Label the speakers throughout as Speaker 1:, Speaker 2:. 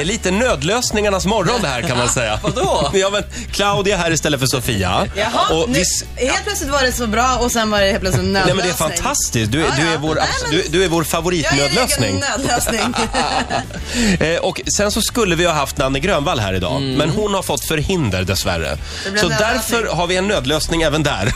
Speaker 1: är lite nödlösningarnas morgon det här kan man säga.
Speaker 2: Vadå?
Speaker 1: Ja, men Claudia här istället för Sofia.
Speaker 3: Jaha,
Speaker 1: Och
Speaker 3: nu,
Speaker 1: vis-
Speaker 3: helt plötsligt var det så bra och sen var det helt plötsligt en
Speaker 1: Nej
Speaker 3: nödlösning.
Speaker 1: men det är fantastiskt. Du är,
Speaker 3: Ja,
Speaker 1: du är
Speaker 3: ja.
Speaker 1: vår,
Speaker 3: Nej,
Speaker 1: abs-
Speaker 3: men-
Speaker 1: du, du är vår
Speaker 3: Jag är egen
Speaker 1: favoritnödlösning.
Speaker 3: nödlösning.
Speaker 1: Eh, och sen så skulle vi ha haft Nanne Grönvall här idag, men hon har fått förhinder dessvärre.
Speaker 3: blev
Speaker 1: Så
Speaker 3: nödlösning.
Speaker 1: därför har vi en nödlösning även där.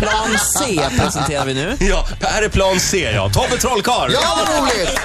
Speaker 2: Plan C presenterar vi nu.
Speaker 1: ja, här är plan C ja. Tobbe Trollkarl!
Speaker 4: Ja, vad roligt!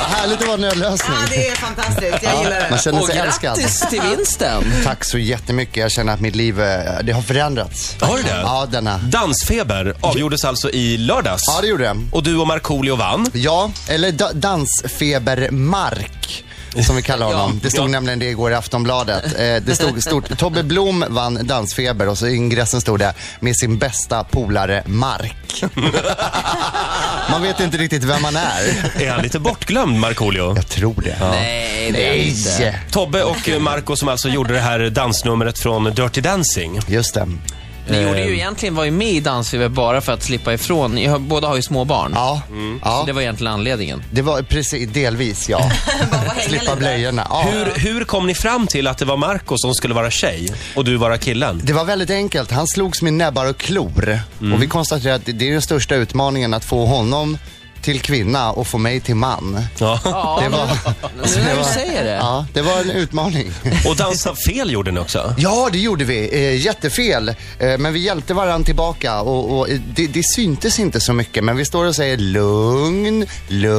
Speaker 4: Vad härligt att vara en nödlösning.
Speaker 3: ja, det är fantastiskt. Jag gillar
Speaker 4: Man
Speaker 3: det.
Speaker 4: känner
Speaker 2: Och
Speaker 4: sig älskad.
Speaker 2: grattis till vinsten.
Speaker 4: Tack så jättemycket. Jag känner att mitt liv, eh, det har förändrats.
Speaker 1: Har du det?
Speaker 4: Ja, denna.
Speaker 1: Dansfeber avgjordes alltså i lördags.
Speaker 4: Ja, det gjorde det.
Speaker 1: Och du och Markoolio vann.
Speaker 4: Ja, eller da- dansfebermark. Som vi kallar honom. Det stod
Speaker 1: Ja.
Speaker 4: nämligen det igår i Aftonbladet. Eh, det stod stort, Tobbe Blom vann Dansfeber och så i ingressen stod det med sin bästa polare Mark. man vet inte riktigt vem man är.
Speaker 1: Är han lite bortglömd Markoolio?
Speaker 4: Jag tror det.
Speaker 2: Nej, det är
Speaker 4: Nej!
Speaker 2: inte.
Speaker 1: Tobbe och eh, Marco som alltså gjorde det här dansnumret från Dirty Dancing.
Speaker 4: Just det.
Speaker 2: Ni gjorde ju egentligen, var ju med i Dansfeber bara för att slippa ifrån. Ni har, båda har ju små barn.
Speaker 4: Ja. ja.
Speaker 2: Mm. Så det var egentligen anledningen.
Speaker 4: Det var precis, delvis ja. Slippa blöjorna. Ja.
Speaker 1: Hur, hur kom ni fram till att det var Marco som skulle vara tjej och du vara killen?
Speaker 4: Det var väldigt enkelt. Han slogs med näbbar och klor. Och vi konstaterade att det är den största utmaningen att få honom till kvinna och få mig till man.
Speaker 1: Ja.
Speaker 2: Ja,
Speaker 4: Det var,
Speaker 2: nu när du säger det.
Speaker 4: ja, det var en utmaning.
Speaker 1: Och dansa fel gjorde ni också.
Speaker 4: Ja, det gjorde vi. Eh, jättefel. Eh, men vi hjälpte varandra tillbaka och, och eh, det, det syntes inte så mycket. Men vi står och säger lugn,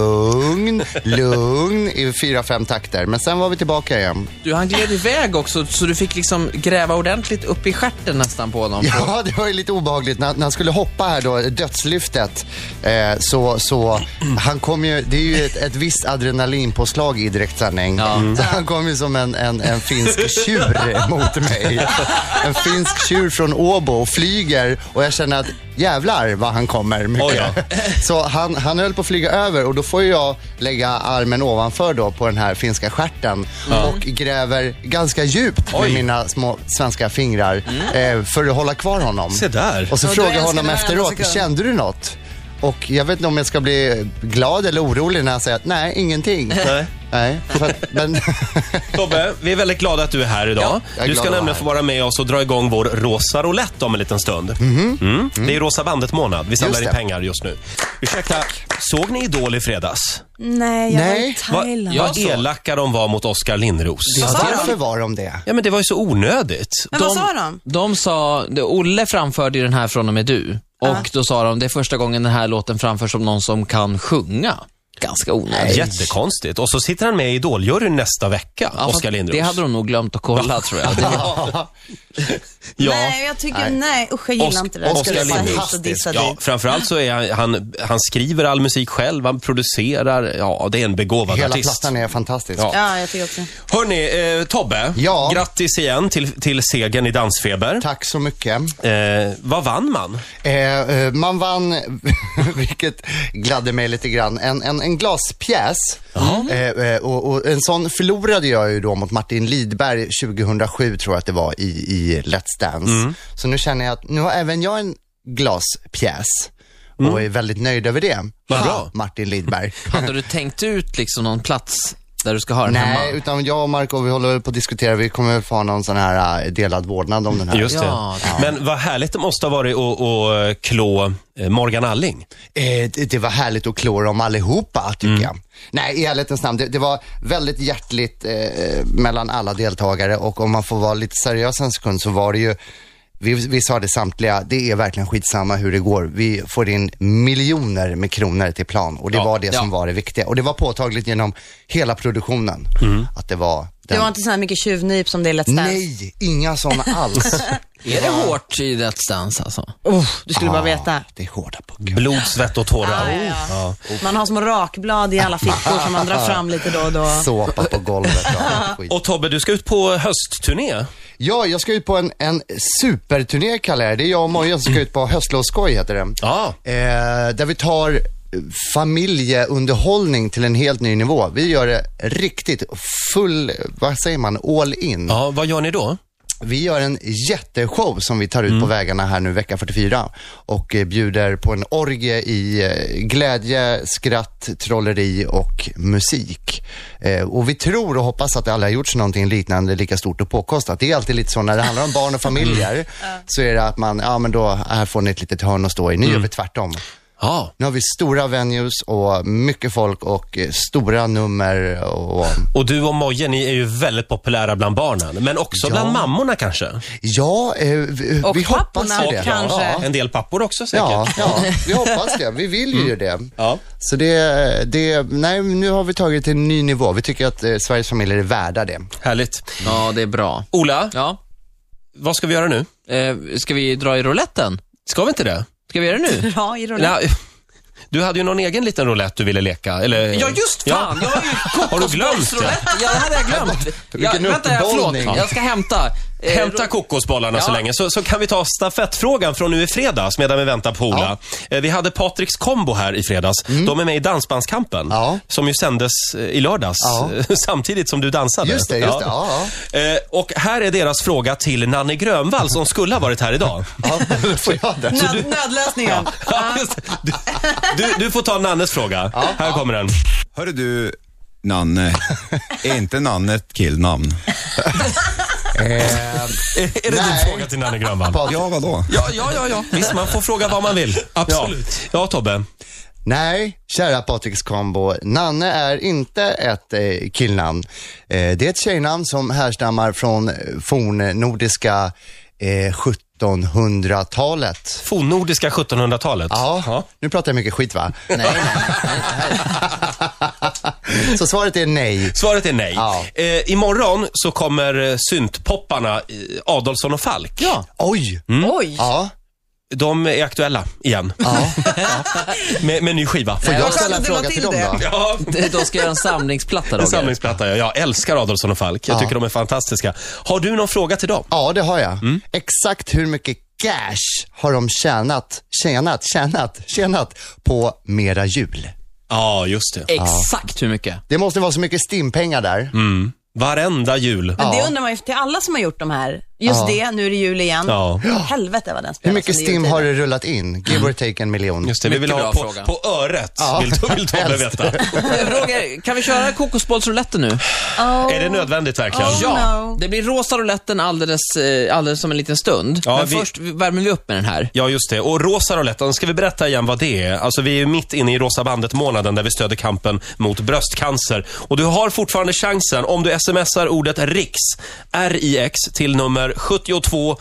Speaker 4: lugn, lugn i fyra, fem takter. Men sen var vi tillbaka igen.
Speaker 2: Du, han gled iväg också, så du fick liksom gräva ordentligt upp i stjärten nästan på honom.
Speaker 4: Ja, det var ju lite obehagligt. När, när han skulle hoppa här då, dödslyftet, eh, så, så han kom ju, det är ju ett, ett visst adrenalinpåslag i direktsändning. Så han kom ju som en, en, en finsk tjur mot mig. En finsk tjur från Åbo och flyger och jag känner att jävlar vad han kommer mycket.
Speaker 1: Oj då.
Speaker 4: Så han, han höll på att flyga över och då får ju jag lägga armen ovanför då på den här finska stjärten och gräver ganska djupt med
Speaker 1: Mm. Oj. Mm.
Speaker 4: mina små svenska fingrar eh, för att hålla kvar honom.
Speaker 1: Se där.
Speaker 4: Och så
Speaker 3: Ja, du
Speaker 4: frågar jag
Speaker 3: älskade
Speaker 4: honom
Speaker 3: varenda
Speaker 4: efteråt,
Speaker 3: sekund.
Speaker 4: kände du något? Och jag vet inte om jag ska bli glad eller orolig när han säger att nej, ingenting.
Speaker 1: Nej.
Speaker 4: nej, för att, men
Speaker 1: Tobbe, vi är väldigt glada att du är här idag.
Speaker 4: jag är
Speaker 1: du
Speaker 4: glad
Speaker 1: ska
Speaker 4: att vara
Speaker 1: nämligen
Speaker 4: här.
Speaker 1: få vara med oss och dra igång vår rosa roulette om en liten stund. Mm. Det är Rosa bandet-månad. Vi samlar
Speaker 4: Mhm. Just
Speaker 1: in
Speaker 4: det.
Speaker 1: pengar just nu. Ursäkta, såg ni Idol i fredags?
Speaker 5: Nej, jag var
Speaker 4: Nej.
Speaker 5: i Thailand.
Speaker 2: Ja.
Speaker 1: Vad
Speaker 2: såg.
Speaker 1: elaka de var mot Oskar Lindros.
Speaker 4: varför var de det?
Speaker 1: Ja, men det var ju så onödigt.
Speaker 3: Men vad sa de?
Speaker 2: De sa, det- Olle framförde ju den här från och med du. Och då sa de, det är första gången den här låten framförs som någon som kan sjunga. Ganska onödigt.
Speaker 1: Jättekonstigt. Och så sitter han med i Idoljuryn nästa vecka,
Speaker 2: Ja, fast
Speaker 1: Oskar Lindros.
Speaker 2: Det hade de nog glömt att kolla tror jag. Det var-
Speaker 1: ja.
Speaker 3: Nej, jag tycker nej. Usch, jag gillar
Speaker 1: Osk-
Speaker 3: inte det. där.
Speaker 1: Oskar
Speaker 3: Jag ska
Speaker 1: Lindros.
Speaker 3: hit och dissa
Speaker 1: Ja,
Speaker 3: dit.
Speaker 1: framförallt så är han, han, han skriver all musik själv, han producerar, ja det är en begåvad
Speaker 4: Hela
Speaker 1: artist.
Speaker 4: plattan är fantastisk.
Speaker 1: Ja.
Speaker 3: Ja, jag tycker också.
Speaker 1: Hörni, eh, Tobbe,
Speaker 4: Ja.
Speaker 1: grattis igen till, till segern i Dansfeber.
Speaker 4: Tack så mycket.
Speaker 1: Eh, vad vann man?
Speaker 4: Eh, eh, man vann, vilket gladde mig lite grann, en, en, en glaspjäs. Eh, eh, och, och en sån förlorade jag ju då mot Martin Lidberg 2007 tror jag att det var i, i Let's Dance.
Speaker 1: Mm.
Speaker 4: Så nu känner jag att nu har även jag en glaspjäs. Och är väldigt nöjd över det.
Speaker 1: Mm. Vad
Speaker 4: Ha,
Speaker 1: bra.
Speaker 4: Martin Lidberg.
Speaker 2: Hade du tänkt ut liksom någon plats där du ska ha den
Speaker 4: Nej,
Speaker 2: hemma?
Speaker 4: utan jag och Marco vi håller väl på att diskutera, vi kommer väl få ha någon sån här eh, delad vårdnad om den här.
Speaker 1: Just det.
Speaker 2: Ja.
Speaker 1: Men vad härligt det måste ha varit att, att klå eh, Morgan Alling.
Speaker 4: Eh, det, det var härligt att klå dem allihopa, tycker jag. Nej, i ärlighetens namn, det, det var väldigt hjärtligt eh, mellan alla deltagare och om man får vara lite seriös en sekund så var det ju vi, vi sa det samtliga, det är verkligen skitsamma hur det går. Vi får in miljoner med kronor till plan och det
Speaker 1: Ja,
Speaker 4: var det
Speaker 2: ja.
Speaker 4: som var det viktiga. Och det var påtagligt genom hela produktionen. Att det var
Speaker 3: Det
Speaker 4: den...
Speaker 3: var inte så här mycket tjuvnyp som det är Let's Dance.
Speaker 4: Nej, inga sådana alls.
Speaker 2: Är det hårt i Let's Dance alltså?
Speaker 3: Oh, du skulle
Speaker 4: Ah.
Speaker 3: bara veta.
Speaker 4: det är hårda puckar.
Speaker 1: Blod, svett och tårar.
Speaker 4: Ah.
Speaker 3: Ja, ja, ja. Man har små rakblad i alla fickor som man drar fram lite då och då.
Speaker 4: Såpa på golvet. Ja, skit.
Speaker 1: Och Tobbe, du ska ut på höstturné.
Speaker 4: Ja, jag ska ut på en, en superturné kallar jag det. Det är jag och Moja som ska ut på Höstlovsskoj heter det.
Speaker 1: Ja.
Speaker 4: Eh, där vi tar eh, familjeunderhållning till en helt ny nivå. Vi gör det riktigt full, vad säger man, all in.
Speaker 1: ja, vad gör ni då?
Speaker 4: Vi gör en jätteshow som vi tar ut
Speaker 3: Mm.
Speaker 4: på vägarna här nu vecka 44 och eh, bjuder på en orgie i eh, glädje, skratt, trolleri och musik. Eh, och vi tror och hoppas att det aldrig har gjorts någonting liknande lika stort och påkostat. Det är alltid lite så när det handlar om barn och
Speaker 3: Mm.
Speaker 4: familjer så är det att man, ja men då, här får ni ett litet hörn att stå i. Nu
Speaker 3: Mm.
Speaker 4: gör vi tvärtom.
Speaker 2: Ja.
Speaker 4: Nu har vi stora venues och mycket folk och eh, stora nummer och
Speaker 1: Och du och Moje, ni är ju väldigt populära bland barnen, men också bland mammorna kanske?
Speaker 4: ja, eh, vi,
Speaker 3: Och
Speaker 4: vi hoppas
Speaker 3: papporna
Speaker 4: ju det.
Speaker 3: kanske.
Speaker 4: Ja.
Speaker 1: En del pappor också säkert.
Speaker 4: Ja, ja, Mm. vi hoppas det. Vi vill ju det.
Speaker 1: Ja.
Speaker 4: Så det, det, nej, nu har vi tagit det till en ny nivå. Vi tycker att eh, Sveriges familjer är värda det.
Speaker 1: Härligt.
Speaker 2: ja, det är bra.
Speaker 1: Ola,
Speaker 2: Ja.
Speaker 1: vad ska vi göra nu?
Speaker 2: Eh, ska vi dra i rouletten?
Speaker 1: Ska vi inte det?
Speaker 2: Ska vi göra det nu?
Speaker 3: Ja, i roulette.
Speaker 1: Nej, du hade ju någon egen liten roulette du ville leka, eller?
Speaker 2: Ja, just fan! Jag har ju
Speaker 1: Har du glömt det?
Speaker 2: kokosbollsroulette. Ja, det hade jag glömt. Jag,
Speaker 4: Vilken
Speaker 2: vänta, jag, förlåt.
Speaker 4: uppehållning.
Speaker 2: Jag ska hämta. eh,
Speaker 1: Hämta
Speaker 2: ro-
Speaker 1: kokosbollarna så
Speaker 2: Ja.
Speaker 1: länge, så, så kan vi ta stafettfrågan från nu i fredags medan vi väntar på Ola. Eh, Vi hade Patriks kombo här i fredags. De är med i Dansbandskampen,
Speaker 4: Mm. Ja.
Speaker 1: som ju sändes eh, i lördags,
Speaker 4: Ja.
Speaker 1: samtidigt som du dansade.
Speaker 4: Just det, just det. Ja,
Speaker 1: Eh, Och här är deras fråga till Nanne Grönvall som skulle ha varit här idag.
Speaker 4: Ja, får jag den?
Speaker 3: Nöd, Nödlösningen.
Speaker 1: Ja, just det. du, du, du får ta Nannes fråga. här kommer den.
Speaker 5: Hörru du, Nanne. Är inte Nanne ett killnamn?
Speaker 1: Är det din fråga till Nanne Grönvall?
Speaker 5: Ja, vadå?
Speaker 1: Ja, ja, ja, ja. Visst, man får fråga vad man vill. Absolut. Ja, ja Tobbe.
Speaker 4: Nej, kära Patriks kombo. Nanne är inte ett eh, killnamn. Eh, det är ett tjejnamn som härstammar från eh, fornnordiska eh, 1700-talet.
Speaker 1: Fornnordiska 1700-talet.
Speaker 4: Ja, nu pratar jag mycket skit va? Nej, nej, nej. Så svaret är nej.
Speaker 1: Svaret är nej.
Speaker 4: Ja.
Speaker 1: Eh, imorgon så kommer eh, syntpopparna eh, Adolfsson och Falk.
Speaker 2: Ja.
Speaker 4: Oj! Mm.
Speaker 3: Oj.
Speaker 4: Ja,
Speaker 1: De är aktuella igen.
Speaker 4: ja.
Speaker 1: Med, med ny skiva.
Speaker 4: Får
Speaker 3: vad
Speaker 4: jag ställa
Speaker 3: skönt
Speaker 4: en
Speaker 3: att det var
Speaker 4: fråga till
Speaker 3: till
Speaker 4: dem då?
Speaker 1: Ja.
Speaker 2: De ska göra en samlingsplatta,
Speaker 1: En
Speaker 2: Roger.
Speaker 1: samlingsplatta, ja. Jag älskar Adolfsson och Falk. Jag
Speaker 4: Ja.
Speaker 1: tycker de är fantastiska. Har du någon fråga till dem?
Speaker 4: Ja, det har jag. Exakt hur mycket cash har de tjänat, tjänat, tjänat, tjänat på mera jul?
Speaker 1: Ja, just det.
Speaker 2: Exakt hur mycket?
Speaker 4: Det måste vara så mycket stimpengar där.
Speaker 1: Varenda jul.
Speaker 3: Men det undrar man ju till alla som har gjort de här. Just det, nu är det jul igen.
Speaker 1: Ja.
Speaker 3: Helvete vad den spelas
Speaker 4: Hur mycket
Speaker 3: under
Speaker 4: stim
Speaker 3: jultiden.
Speaker 4: har det rullat in? Give or take en miljon.
Speaker 1: Just det, vi vill
Speaker 2: Mycket
Speaker 1: ha
Speaker 2: bra
Speaker 1: på,
Speaker 2: fråga.
Speaker 1: på öret, vill, vill Tobbe veta.
Speaker 2: Eh, Roger, kan vi köra kokosbollsrouletten nu?
Speaker 1: Är det nödvändigt verkligen?
Speaker 3: Oh, no.
Speaker 2: Det blir rosa rouletten alldeles, eh, alldeles om en liten stund.
Speaker 1: Ja,
Speaker 2: Men
Speaker 1: vi-
Speaker 2: först värmer vi upp med den här.
Speaker 1: Ja, just det. Och Rosa rouletten, ska vi berätta igen vad det är? Alltså, vi är ju mitt inne i Rosa bandet-månaden där vi stöder kampen mot bröstcancer. Och du har fortfarande chansen om du smsar ordet RIX, R-I-X, till nummer 72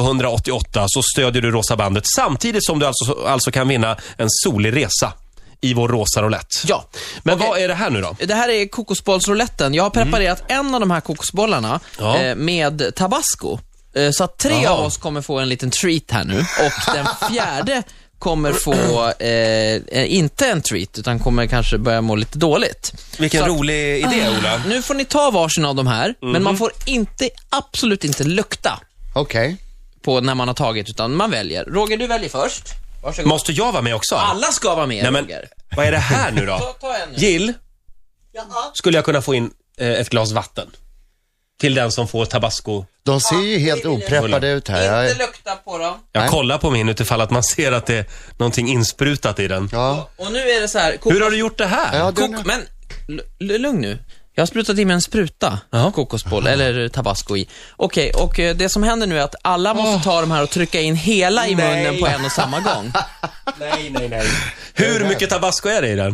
Speaker 1: 988 så stödjer du Rosa bandet samtidigt som du alltså, alltså kan vinna en solig resa i vår Rosa roulette.
Speaker 2: Ja.
Speaker 1: Men
Speaker 2: Okej.
Speaker 1: vad är det här nu då?
Speaker 2: Det här är kokosbollsrouletten. Jag har preparerat en av de här kokosbollarna
Speaker 1: Mm. Ja.
Speaker 2: eh, med tabasco. Eh, så att tre
Speaker 1: Jaha.
Speaker 2: av oss kommer få en liten treat här nu och den fjärde kommer få, eh, eh, inte en treat, utan kommer kanske börja må lite dåligt.
Speaker 1: Vilken
Speaker 2: Så att-
Speaker 1: rolig idé, Ola.
Speaker 2: Nu får ni ta varsin av de här,
Speaker 1: Mhm.
Speaker 2: men man får inte, absolut inte lukta
Speaker 4: Okej.
Speaker 2: på när man har tagit, utan man väljer. Roger, du väljer först. Varsågod.
Speaker 1: Måste jag vara med också?
Speaker 2: Alla ska vara med,
Speaker 1: Nej, men,
Speaker 2: Roger.
Speaker 1: vad är det här nu
Speaker 2: Ta,
Speaker 1: då?
Speaker 2: ta en nu.
Speaker 1: Jill, skulle jag kunna få in eh, ett glas vatten? Till den som får tabasco.
Speaker 4: De ser ju helt opreppade ut här. Jag-
Speaker 2: Inte lukta på dem.
Speaker 1: Jag
Speaker 4: Nej.
Speaker 1: kollar på min utifall att man ser att det är någonting insprutat i den.
Speaker 4: Ja,
Speaker 2: Och nu är det så här, kokos-
Speaker 1: Hur har du gjort det här?
Speaker 4: ja det,
Speaker 2: Kok- men l- l- lugn nu. Jag har sprutat i mig en spruta kokosboll, eller tabasco i. Okej, och eh, det som händer nu är att alla måste ta de här och trycka in hela i
Speaker 1: Nej.
Speaker 2: munnen på en och samma gång.
Speaker 1: Nej, nej, nej. Hur mycket tabasco är det i den?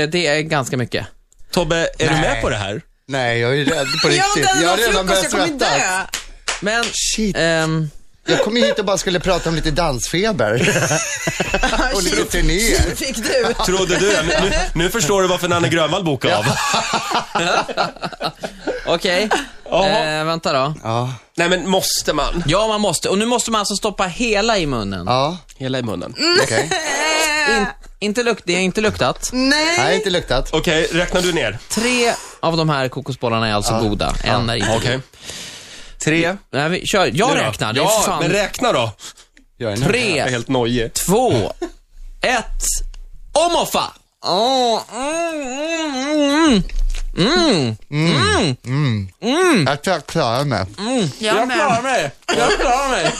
Speaker 2: Eh, Det är ganska mycket.
Speaker 1: Tobbe, är du
Speaker 4: Nej.
Speaker 1: med på det här?
Speaker 4: nej, jag är rädd på riktigt.
Speaker 3: Jag vet inte,
Speaker 4: Jag har
Speaker 3: jag
Speaker 4: redan
Speaker 3: frukost,
Speaker 4: börjat
Speaker 3: jag kommer
Speaker 4: svettas.
Speaker 3: dö.
Speaker 2: Men,
Speaker 4: Shit.
Speaker 2: ehm,
Speaker 4: Jag kom ju hit och bara skulle prata om lite dansfeber. Och lite turnéer.
Speaker 3: Fick du?
Speaker 1: Trodde du det? Nu, nu förstår du varför Nanne Grönvall bokade av.
Speaker 2: okej.
Speaker 1: Jaha.
Speaker 2: Eh, vänta då.
Speaker 4: Ja,
Speaker 1: Nej, men måste man?
Speaker 2: Ja, man måste. Och nu måste man alltså stoppa hela i munnen.
Speaker 4: ja,
Speaker 1: Hela i munnen.
Speaker 4: okej.
Speaker 2: In, inte lukt, det har inte luktat.
Speaker 1: Mm.
Speaker 4: Nej,
Speaker 3: Nej.
Speaker 4: inte luktat.
Speaker 1: Okej, räknar du ner?
Speaker 2: Tre av de här kokosbollarna är alltså goda. En är inte.
Speaker 1: Okej. Tre.
Speaker 2: Nej, vi, kör. Jag räknar. Det är
Speaker 1: ja,
Speaker 2: fan
Speaker 1: men räkna då.
Speaker 2: tre,
Speaker 1: Jag är helt nojig.
Speaker 2: två, ett, omoffa! Oh, mm, mm, mm.
Speaker 4: Jag tror jag klarar mig.
Speaker 3: Jag med.
Speaker 2: mig! Jag klarar mig!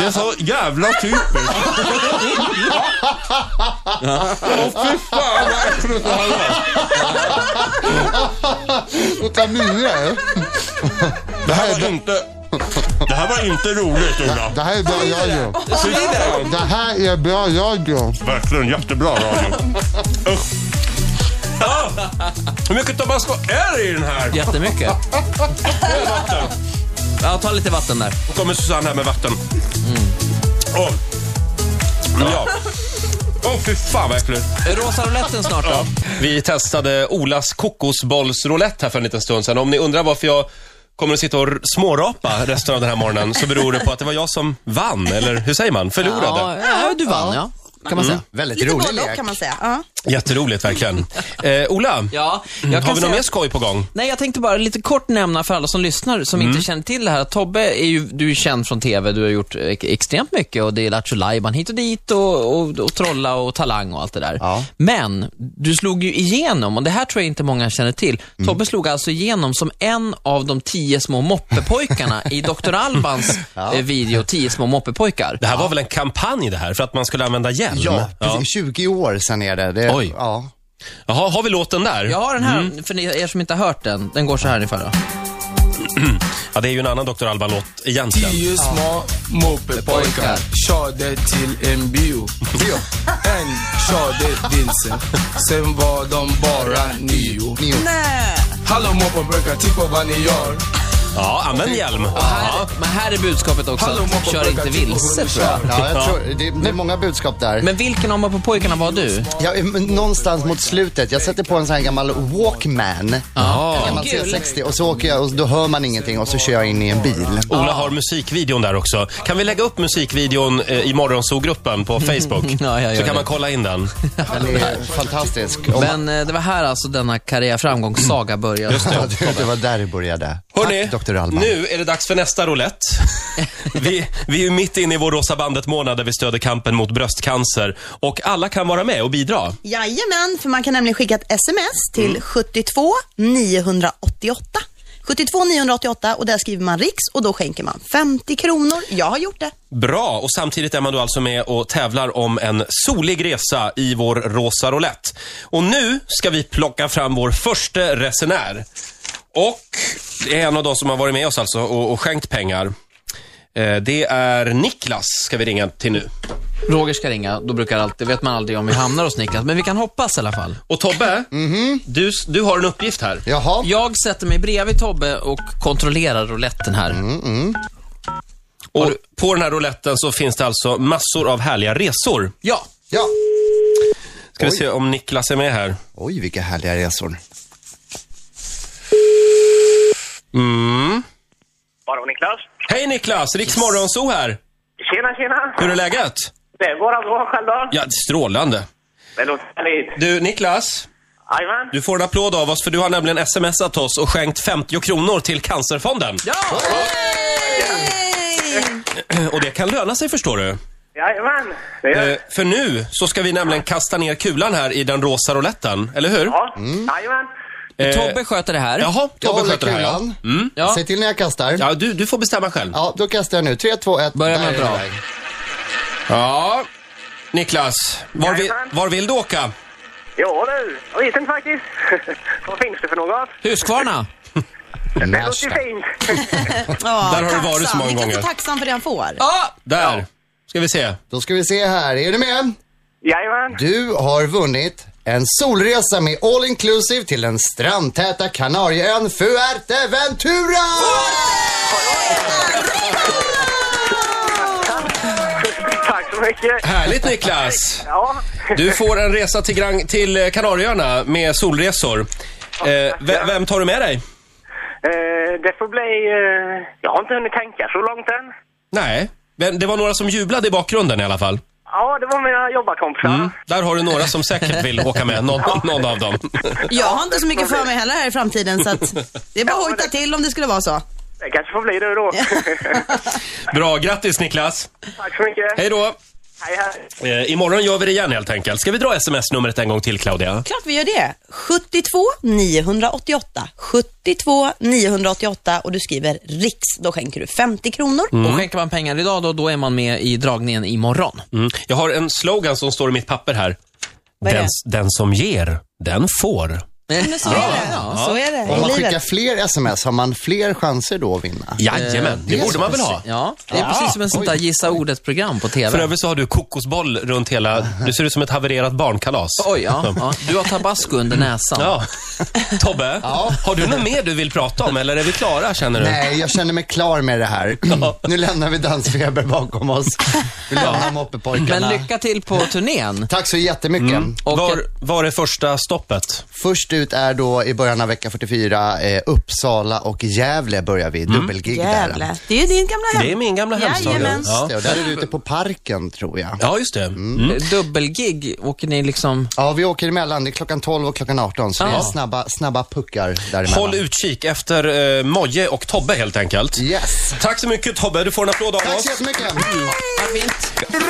Speaker 1: Det är så jävla typiskt.
Speaker 4: Och kaminer.
Speaker 1: Det här var inte... Det här var inte roligt, Ola.
Speaker 4: Det här är bra radio.
Speaker 1: Fy fan.
Speaker 4: Det här är bra radio.
Speaker 1: Verkligen jättebra radio. Usch. Ah, hur mycket tabasco är det i den här?
Speaker 2: Jättemycket. Ja, ta lite vatten där.
Speaker 1: Nu kommer Susanne här med vatten. Åh. Ja. Åh, fy fan vad äckligt.
Speaker 2: Rosa rouletten snart då.
Speaker 1: Vi testade Olas kokosbollsroulette här för en liten stund sedan. Om ni undrar varför jag kommer att sitta och r- smårapa resten av den här morgonen så beror det på att det var jag som vann, eller hur säger man? Förlorade.
Speaker 2: Ja, du vann ja. Kan man säga.
Speaker 4: Väldigt
Speaker 3: Lite
Speaker 4: rolig
Speaker 3: både och
Speaker 4: lek.
Speaker 3: kan man säga. Ja.
Speaker 1: Jätteroligt verkligen. Eh, Ola,
Speaker 2: Ja, jag
Speaker 1: har
Speaker 2: kan
Speaker 1: vi något
Speaker 2: säga...
Speaker 1: mer skoj på gång?
Speaker 2: Nej, jag tänkte bara lite kort nämna för alla som lyssnar som
Speaker 1: Mm.
Speaker 2: inte känner till det här. att Tobbe är ju, du är känd från TV, du har gjort eh, extremt mycket och det är Lattjo Lajban hit och dit och, och, och Trolla och Talang och allt det där.
Speaker 4: Ja.
Speaker 2: Men, du slog ju igenom och det här tror jag inte många känner till.
Speaker 1: Mm.
Speaker 2: Tobbe slog alltså igenom som en av de tio små moppepojkarna i Dr. Albans eh, video, Tio små moppepojkar.
Speaker 1: Det här var väl en kampanj det här, för att man skulle använda hjälm?
Speaker 4: Ja, precis. 20 år sedan är det. det
Speaker 1: Oj.
Speaker 4: Ja.
Speaker 1: Jaha, har vi låten där?
Speaker 2: Jag har den här,
Speaker 1: Mm.
Speaker 2: för ni, er som inte har hört den, den går så här ungefär. Då.
Speaker 1: Ja, det är ju en annan Dr. Alban-låt egentligen.
Speaker 6: Tio små moppepojkar körde till en bio.
Speaker 4: Bio.
Speaker 6: En körde vilse, sen var de bara nio.
Speaker 4: Nio.
Speaker 3: Nej.
Speaker 6: Hallå moppepojkar, titta på vad ni gör.
Speaker 1: Ja, använd hjälm.
Speaker 2: Här, men här är budskapet också,
Speaker 6: Hallå, typ
Speaker 2: att kör inte vilse tror jag.
Speaker 4: Ja, jag tror, det, det är många budskap där.
Speaker 2: Men vilken av på pojkarna var du?
Speaker 4: Ja, men någonstans mot slutet, jag sätter på en sån här gammal Walkman. En gammal
Speaker 3: Gul.
Speaker 4: C60 och så åker jag och då hör man ingenting och så kör jag in i en bil.
Speaker 1: Ola har musikvideon där också. Kan vi lägga upp musikvideon eh, i morgonsogruppen på Facebook?
Speaker 2: Ja, jag gör
Speaker 1: så kan
Speaker 2: det.
Speaker 1: man kolla in den.
Speaker 4: Den är fantastisk. Om man,
Speaker 2: Men eh, det var här alltså denna karriärframgångssaga började.
Speaker 4: ja, det, det var där det började.
Speaker 1: Hörrni,
Speaker 4: Tack, Dr. Alban.
Speaker 1: nu är det dags för nästa roulette. vi, vi är ju mitt inne i vår Rosa bandet-månad där vi stöder kampen mot bröstcancer. Och alla kan vara med och bidra.
Speaker 3: Jajamän, för man kan nämligen skicka ett sms till
Speaker 1: Mm.
Speaker 3: 72 988. 72 988 och där skriver man riks och då skänker man 50 kronor. Jag har gjort det.
Speaker 1: Bra, och samtidigt är man då alltså med och tävlar om en solig resa i vår rosa roulette. Och nu ska vi plocka fram vår första resenär. Och det är en av de som har varit med oss alltså och, och skänkt pengar. Eh, det är Niklas, ska vi ringa till nu.
Speaker 2: Roger ska ringa, då brukar alltid, vet man aldrig om vi hamnar hos Niklas, men vi kan hoppas i alla fall.
Speaker 1: Och Tobbe, du, s- du har en uppgift här.
Speaker 4: Jaha,
Speaker 2: Jag sätter mig bredvid Tobbe och kontrollerar rouletten här.
Speaker 1: Mm. Och på den här rouletten så finns det alltså massor av härliga resor.
Speaker 2: Ja,
Speaker 4: ja.
Speaker 1: Ska vi
Speaker 4: Oj.
Speaker 1: se om Niklas är med här.
Speaker 4: Oj, vilka härliga resor.
Speaker 7: Bara Niklas.
Speaker 1: Hej Niklas, Riks Morgonzoo här.
Speaker 7: Tjena, tjena!
Speaker 1: Hur är läget?
Speaker 7: Det går allt bra själv då?
Speaker 1: Ja, strålande.
Speaker 7: Det låter härligt.
Speaker 1: Du Niklas,
Speaker 7: Jajamän.
Speaker 1: du får en applåd av oss för du har nämligen smsat oss och skänkt 50 kronor till Cancerfonden. Ja. Och det kan löna sig förstår du.
Speaker 7: Jajamän. Det gör
Speaker 1: Eh, för nu så ska vi nämligen kasta ner kulan här i den rosa rouletten, eller hur?
Speaker 7: Ja.
Speaker 1: Mm.
Speaker 7: Jajamän.
Speaker 1: Eh,
Speaker 2: Tobbe sköter det här.
Speaker 1: Jaha,
Speaker 4: Jag
Speaker 1: Tobbe
Speaker 4: håller
Speaker 1: sköter det här ja.
Speaker 4: kulan.
Speaker 2: Ja.
Speaker 4: Säg till när jag kastar. Ja,
Speaker 1: ja du, du får bestämma själv.
Speaker 4: då kastar jag nu. Tre, två, ett.
Speaker 2: Börja med
Speaker 4: Där är
Speaker 2: bra.
Speaker 4: den.
Speaker 1: Ja, Niklas, var, vi,
Speaker 7: Jajamän.
Speaker 1: var vill du åka?
Speaker 7: Jo du, jag vet inte faktiskt. Vad finns det för något?
Speaker 2: Huskvarna.
Speaker 7: Det
Speaker 1: alltså.
Speaker 7: låter ju
Speaker 4: Märsta.
Speaker 7: fint.
Speaker 3: Ja,
Speaker 1: Där har du varit så många
Speaker 3: Vilken
Speaker 1: gånger.
Speaker 3: så tacksam för det han får.
Speaker 2: Ja.
Speaker 1: Där. Ska vi se.
Speaker 4: Då ska vi se här. Är du med?
Speaker 7: Jajamän.
Speaker 4: Du har vunnit en solresa med all inclusive till den strandtäta Kanarieön Fuerteventura!
Speaker 7: Tack så mycket.
Speaker 1: Härligt Niklas!
Speaker 7: Ja.
Speaker 1: Du får en resa till, Gran- till eh, Kanarieöarna med solresor. Eh, ve- vem tar du med dig?
Speaker 7: Eh, det får bli... Eh, jag har inte hunnit tänka så långt än.
Speaker 1: Nej, men det var några som jublade i bakgrunden i alla fall. Mm.
Speaker 7: Ja, det var mina jobbarkompisar.
Speaker 1: Där har du några som säkert vill åka med, någon, någon av dem.
Speaker 3: Jag har inte så mycket för mig heller här i framtiden så att det är bara att hojta till om det skulle vara så.
Speaker 7: Det kanske får bli du då.
Speaker 1: Bra, grattis Niklas!
Speaker 7: Tack så mycket.
Speaker 1: Hej då!
Speaker 7: Hej, hej.
Speaker 1: Eh, imorgon gör vi det igen helt enkelt. Ska vi dra sms-numret en gång till Claudia?
Speaker 3: Klart vi gör det. 72 988 72 988 och du skriver riks. Då skänker du 50 kronor.
Speaker 2: Och skänker man pengar idag då, då är man med i dragningen imorgon.
Speaker 1: Mm. Jag har en slogan som står i mitt papper här.
Speaker 3: Vad är
Speaker 1: Den, den som ger, den får.
Speaker 3: Men så är det. Så är det
Speaker 4: Om
Speaker 3: i
Speaker 4: man skickar
Speaker 3: livet.
Speaker 4: fler sms, har man fler chanser då att vinna?
Speaker 2: Eh,
Speaker 1: Jajamän, det
Speaker 4: det är
Speaker 1: borde
Speaker 4: så
Speaker 1: man väl ha? Ah,
Speaker 2: Ja, det är precis som en sånt där gissa ordet-program på TV.
Speaker 1: För övrigt så har du kokosboll runt hela... Du ser ut som ett havererat barnkalas. Mm.
Speaker 2: Oj, ja, ja. Du har tabasco under näsan.
Speaker 1: Ja. Tobbe, har du något mer du vill prata om eller är vi klara känner du?
Speaker 4: Nej, jag känner mig klar med det här. nu lämnar vi dansfeber bakom oss. Vi lämnar
Speaker 2: Men
Speaker 4: moppepojkarna.
Speaker 2: lycka till på turnén.
Speaker 4: Tack så jättemycket.
Speaker 2: Och
Speaker 1: Var, var är första stoppet?
Speaker 4: Först ut är då i början av vecka 44 eh, Uppsala och Gävle börjar vi. Dubbelgig där.
Speaker 3: Jävlar. Det är ju din gamla hem.
Speaker 1: Det är min gamla hemstad.
Speaker 3: Jajamän.
Speaker 1: Ja.
Speaker 4: Ja, och där är vi ute på parken tror jag.
Speaker 1: ja, just det. Mm.
Speaker 2: eh, dubbelgig, åker ni liksom...
Speaker 4: Ja, vi åker emellan. Det är klockan 12 och klockan 18, så det är
Speaker 2: Ja.
Speaker 4: snabba, snabba puckar däremellan.
Speaker 1: Håll utkik efter eh, Moje och Tobbe helt enkelt.
Speaker 4: Yes.
Speaker 1: Tack så mycket Tobbe, du får en applåd av
Speaker 4: Tack
Speaker 1: oss.
Speaker 4: så jättemycket.
Speaker 2: Vad fint.